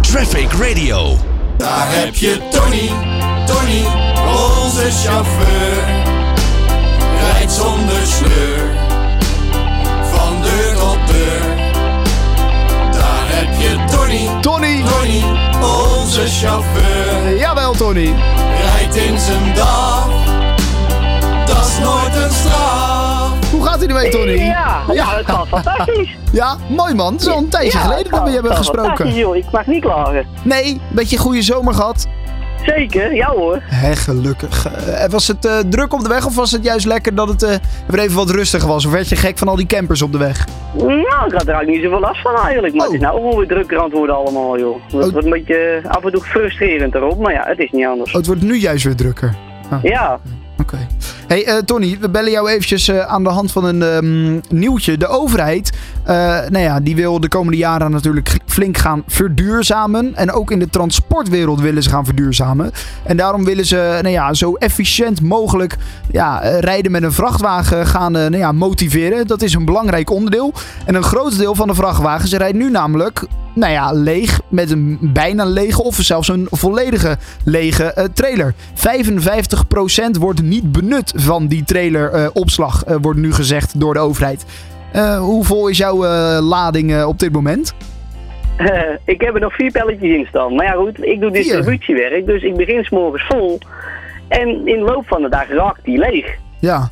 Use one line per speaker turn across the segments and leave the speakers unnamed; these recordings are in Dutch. Traffic Radio.
Daar heb je Tony, Tony, onze chauffeur. Rijdt zonder sleur, van deur tot deur. Daar heb je Tony,
Tony!
Tony, onze chauffeur.
Jawel, Tony.
Rijdt in zijn dag, dat is nooit een straf.
Hoe gaat het ermee, Tony?
Ja, nou, ja.
Ja.
het gaat fantastisch.
Ja, mooi man. Het is al een tijdje
Ja,
geleden dat we je hebben
het gaat fantastisch,
gesproken.
joh. Ik mag niet klagen.
Nee, een beetje een goede zomer gehad.
Zeker, ja hoor.
Hé, gelukkig. Eh, was het eh, druk op de weg of was het juist lekker dat het eh, weer even wat rustiger was? Of werd je gek van al die campers op de weg?
Nou, ik had er eigenlijk niet zoveel last van eigenlijk. Maar
Oh.
het is nou gewoon weer drukker aan het worden allemaal, joh. Het
Oh.
wordt een beetje eh, af en toe frustrerend erop, maar ja, het is niet anders.
Oh, het wordt nu juist weer drukker.
Ja,
Oké. hey, eh, Tony, we bellen jou eventjes eh, aan de hand van een ehm, nieuwtje. De overheid, eh, nou ja, die wil de komende jaren natuurlijk flink gaan verduurzamen. En ook in de transportwereld willen ze gaan verduurzamen. En daarom willen ze nou ja, zo efficiënt mogelijk ja, eh, rijden met een vrachtwagen gaan eh, nou ja, motiveren. Dat is een belangrijk onderdeel. En een groot deel van de vrachtwagens rijdt nu namelijk nou ja, leeg met een bijna lege of zelfs een volledige lege eh, trailer. 55% wordt niet benut van die traileropslag, eh, wordt nu gezegd door de overheid. Eh, hoe vol is jouw eh, lading eh, op dit moment?
eh, ik heb er nog vier pelletjes in staan. Maar ja, goed, ik doe distributiewerk, dus ik begin s'morgens vol. En in de loop van de dag raakt die leeg.
Ja,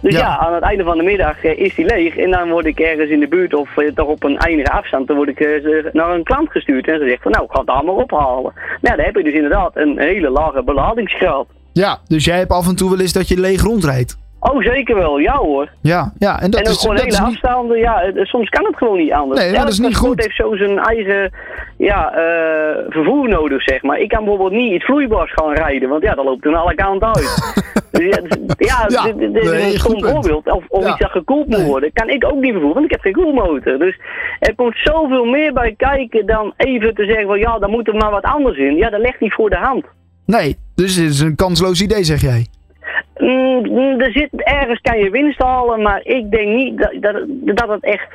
Dus
Ja.
ja. aan het einde van de middag eh, is die leeg en dan word ik ergens in de buurt of eh, toch op een eindige afstand, dan word ik eh, ze- naar een klant gestuurd en ze zegt van nou, ik ga het daar maar ophalen. Nou, dan heb je dus inderdaad een hele lage beladingsgraad.
ja, dus jij hebt af en toe wel eens dat je leeg rondrijdt.
Oh, zeker wel, ja hoor.
Ja, ja, en dat
en ook
is,
gewoon
dat
hele
is niet...
afstanden, ja, eh, soms kan het gewoon niet anders.
Nee, maar dat is niet
Elk transport
goed.
heeft zo zijn eigen ja, eh, vervoer nodig, zeg maar. Ik kan bijvoorbeeld niet iets vloeibaars gaan rijden, want ja, dat loopt dan alle kanten uit. Dus ja, d- ja,
Ja,
dit- dit- dit is
nee, goed
een stom
punt.
voorbeeld. Of, of
Ja.
iets dat gekoeld moet
Nee.
worden, kan ik ook niet vervoeren, want ik heb geen koelmotor. Dus er komt zoveel meer bij kijken dan even te zeggen van ja, dan moet er maar wat anders in. Ja, dat ligt niet voor de hand.
Nee, dus dit is een kansloos idee, zeg jij.
Mm, mm, er zit, ergens kan je winst halen, maar ik denk niet dat, dat, dat het echt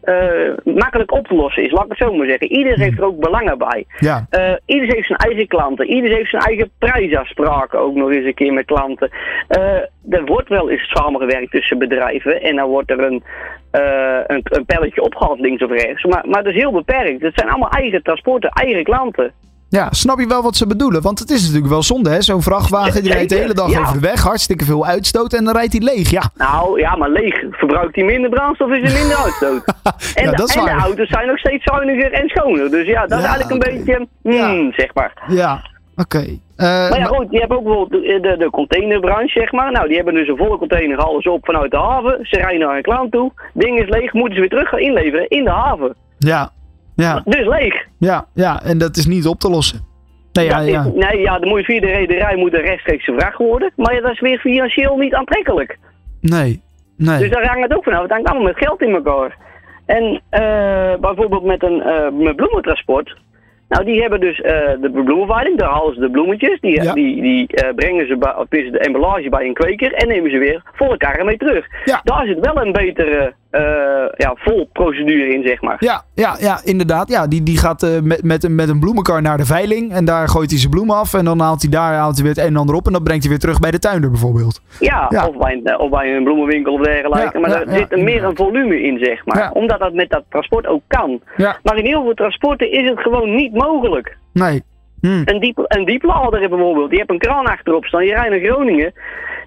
eh, makkelijk op te lossen is. Laat ik het zo maar zeggen. Iedereen heeft er ook belangen bij.
Ja,
Eh ieder heeft zijn eigen klanten. Ieder heeft zijn eigen prijsafspraken ook nog eens een keer met klanten. Eh, er wordt wel eens samengewerkt tussen bedrijven en dan wordt er een, eh, een, een pelletje opgehaald links of rechts. Maar, maar dat is heel beperkt. Het zijn allemaal eigen transporten, eigen klanten.
Ja, snap je wel wat ze bedoelen? Want het is natuurlijk wel zonde, hè? Zo'n vrachtwagen die
Zeker,
rijdt de hele dag
ja.
over de weg, hartstikke veel uitstoot en dan rijdt hij leeg. Ja,
Nou ja, maar leeg verbruikt hij minder brandstof, is er minder uitstoot. En,
ja
de,
dat is
en de
waar.
auto's zijn nog steeds zuiniger en schoner. Dus ja, dat is
Ja,
eigenlijk een
oké.
beetje, hmm, zeg maar.
Ja, oké. Eh,
Maar ja,
maar-
goed, je hebt ook bijvoorbeeld de, de, de containerbranche, zeg maar. Nou, die hebben dus een volle container, alles op vanuit de haven. Ze rijden naar een klant toe. Ding is leeg, moeten ze weer terug gaan inleveren in de haven.
ja, ja,
Dus leeg.
ja, ja, en dat is niet op te lossen. Nee, ja,
Dat
ja.
Is, nee, ja, dan moet je via de rederij moet een rechtstreekse vracht worden. Maar ja, dat is weer financieel niet aantrekkelijk.
nee,
Dus
nee.
daar hangt het ook vanaf. Het hangt allemaal met geld in elkaar. En eh, bijvoorbeeld met een eh, met bloementransport. Nou, die hebben dus eh, de bloemenveiling, daar halen ze de bloemetjes. Die,
Ja.
die, die eh, brengen ze bij, of tenminste, de emballage bij een kweker en nemen ze weer volle karren mee terug.
Ja.
Daar zit wel een betere eh ja, volprocedure in, zeg maar.
Ja, ja, ja, inderdaad. Ja, die, die gaat eh, met, met, een, met een bloemenkar naar de veiling en daar gooit hij zijn bloemen af en dan haalt hij daar haalt hij weer het een en ander op en dat brengt hij weer terug bij de tuinder bijvoorbeeld.
Ja,
Ja.
Of, bij een, eh, of bij een bloemenwinkel of dergelijke.
Ja,
maar
ja,
daar
ja,
zit een meer een volume in, zeg maar.
Ja.
Omdat dat met dat transport ook kan.
Ja.
Maar in heel veel transporten is het gewoon niet mogelijk.
Nee. Hm.
Een, diep, een dieplader bijvoorbeeld, die hebt een kraan achterop staan, je rijdt naar Groningen.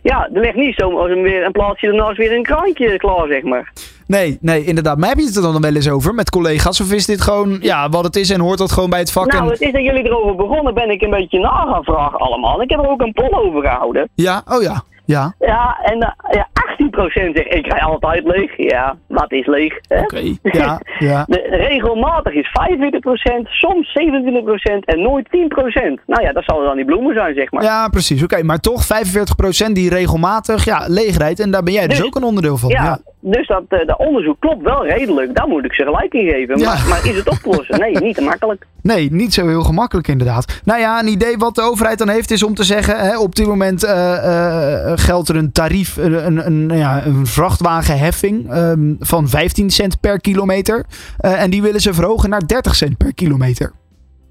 Ja, er ligt niet zomaar een- weer een plaatsje daarnaast weer een kraantje klaar, zeg maar.
Nee, nee, inderdaad. Maar heb je het er dan wel eens over met collega's? Of is dit gewoon ja, wat het is en hoort dat gewoon bij het vak? en...
Nou, het is dat jullie erover begonnen, ben ik een beetje na gaan vragen allemaal. Ik heb er ook een poll over gehouden.
Ja, oh ja. Ja,
Ja, en eh, ja, 18% zegt, ik rij altijd leeg. Ja, wat is leeg? Hè?
oké. Ja, ja.
De, regelmatig is 25%, soms 27% en nooit 10%. Nou ja, dat zal dan die bloemen zijn, zeg maar.
Ja, precies. Oké, maar toch 45% die regelmatig ja, leeg rijdt. En daar ben jij dus
Dus-
ook een onderdeel van.
Ja,
Ja,
dus dat, eh, dat onderzoek klopt wel redelijk. Daar moet ik ze gelijk in geven.
Ja.
Maar, maar is het op te lossen? Nee, niet te makkelijk.
Nee, niet zo heel gemakkelijk inderdaad. Nou ja, een idee wat de overheid dan heeft is om te zeggen... Hè, op dit moment eh, eh, geldt er een tarief, eh, een, een, nou ja, een vrachtwagenheffing... ehm, van 15 cent per kilometer. Eh, en die willen ze verhogen naar 30 cent per kilometer.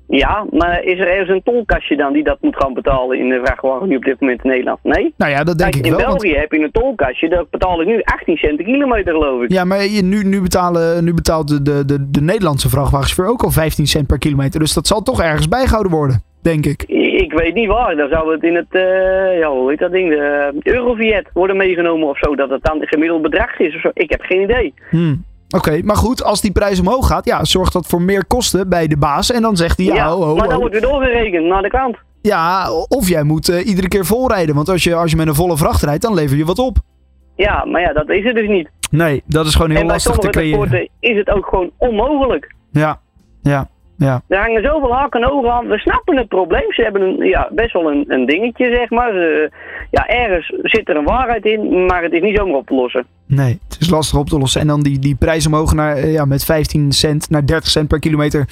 Ja, maar is er ergens een tolkastje dan die dat moet gaan betalen in de vrachtwagen nu op dit moment in Nederland? Nee.
Nou ja, dat denk
Kijk,
ik
in
wel. want-
België heb je een tolkastje, daar betaal ik nu 18 cent de kilometer geloof ik.
Ja, maar je- nu, nu, betalen, nu betaalt de, de, de, de Nederlandse vrachtwagenchauffeur ook al 15 cent per kilometer. Dus dat zal toch ergens bijgehouden worden, denk ik.
I- Ik weet niet waar, dan zou het in het, eh, ja, hoe heet dat ding, de eh, Eurovignet worden meegenomen of zo. Dat het dan het gemiddeld bedrag is of zo. Ik heb geen idee.
Hmm. Oké, maar goed, als die prijs omhoog gaat, ja, zorgt dat voor meer kosten bij de baas. En dan zegt hij, ja, ho, ho,
maar dan
ho.
wordt weer doorgerekend naar de klant.
ja of jij moet eh, iedere keer volrijden. Want als je, als je met een volle vracht rijdt, dan lever je wat op.
Ja, maar ja, dat is het dus niet.
Nee, dat is gewoon heel
en bij
lastig te
sommige
creëren.
transporten is het ook gewoon onmogelijk.
Ja, ja, ja.
Er hangen zoveel haken en ogen aan. We snappen het probleem. Ze hebben een, ja, best wel een, een dingetje, zeg maar. Ze- ja, ergens zit er een waarheid in, maar het is niet zomaar op te lossen.
Nee, het is lastig op te lossen. En dan die, die prijs omhoog naar, eh, ja, met 15 cent naar 30 cent per kilometer.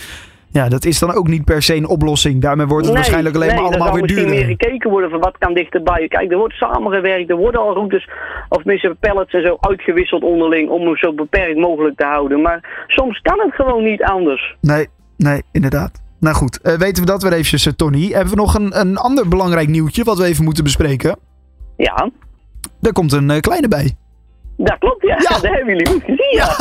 Ja, dat is dan ook niet per se een oplossing. Daarmee wordt het
Nee,
waarschijnlijk alleen
nee,
maar
er
allemaal
zal
weer
misschien
duurder.
meer gekeken worden van wat kan dichterbij. Kijk, er wordt samengewerkt, er worden al routes, of tenminste pallets en zo, uitgewisseld onderling om hem zo beperkt mogelijk te houden. Maar soms kan het gewoon niet anders.
Nee, nee, inderdaad. Nou goed, eh, weten we dat weer eventjes, eh, Tony. Hebben we nog een, een ander belangrijk nieuwtje wat we even moeten bespreken?
Ja,
Daar komt een eh, kleine bij.
dat klopt, ja.
Ja.
Dat hebben jullie goed gezien, ja.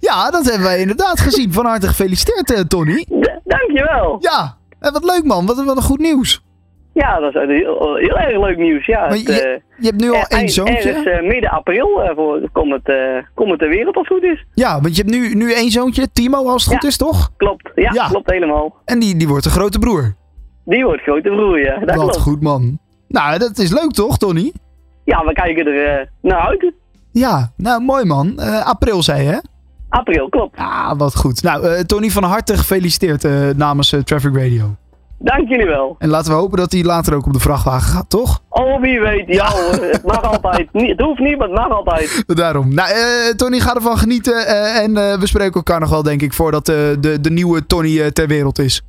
ja, dat hebben wij inderdaad gezien. Van harte gefeliciteerd, eh, Tony.
D- Dankjewel.
Ja, en wat leuk man. Wat, wat een goed nieuws.
Ja, dat is een heel, eh, heel erg leuk nieuws, ja.
Maar
Het,
je-
eh,
Je hebt nu al
Er-
één
eind-
zoontje.
Ergens eh, midden april eh, voor, komt, het, eh, komt het de wereld als het goed is.
Ja, want je hebt nu, nu één zoontje, Timo, als het goed
Ja.
is, toch?
Klopt, ja,
Ja.
klopt helemaal.
En die, die wordt een grote broer.
Die wordt grote broer, ja. Dat
wat
klopt.
goed man. Nou, dat is leuk toch, Tony?
Ja, we kijken er eh, naar uit.
Ja, nou mooi man. Eh, april zei je, hè?
April, klopt.
Ah, wat goed. Nou, eh, Tony, van harte gefeliciteerd eh, namens eh, Traffic Radio.
Dank jullie wel.
En laten we hopen dat hij later ook op de vrachtwagen gaat, toch?
Oh, wie weet, ja, hoor. Het mag altijd. Nie- Het hoeft niet, maar het mag altijd.
Daarom. Nou, eh, Tony, ga ervan genieten. eh, en eh, we spreken elkaar nog wel, denk ik, voordat eh, de, de nieuwe Tony eh, ter wereld is.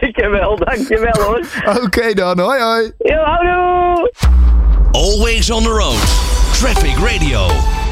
Zeker wel, dankjewel hoor.
Oké dan, hoi hoi.
Yo, houdoe!
Always on the road. Traffic Radio.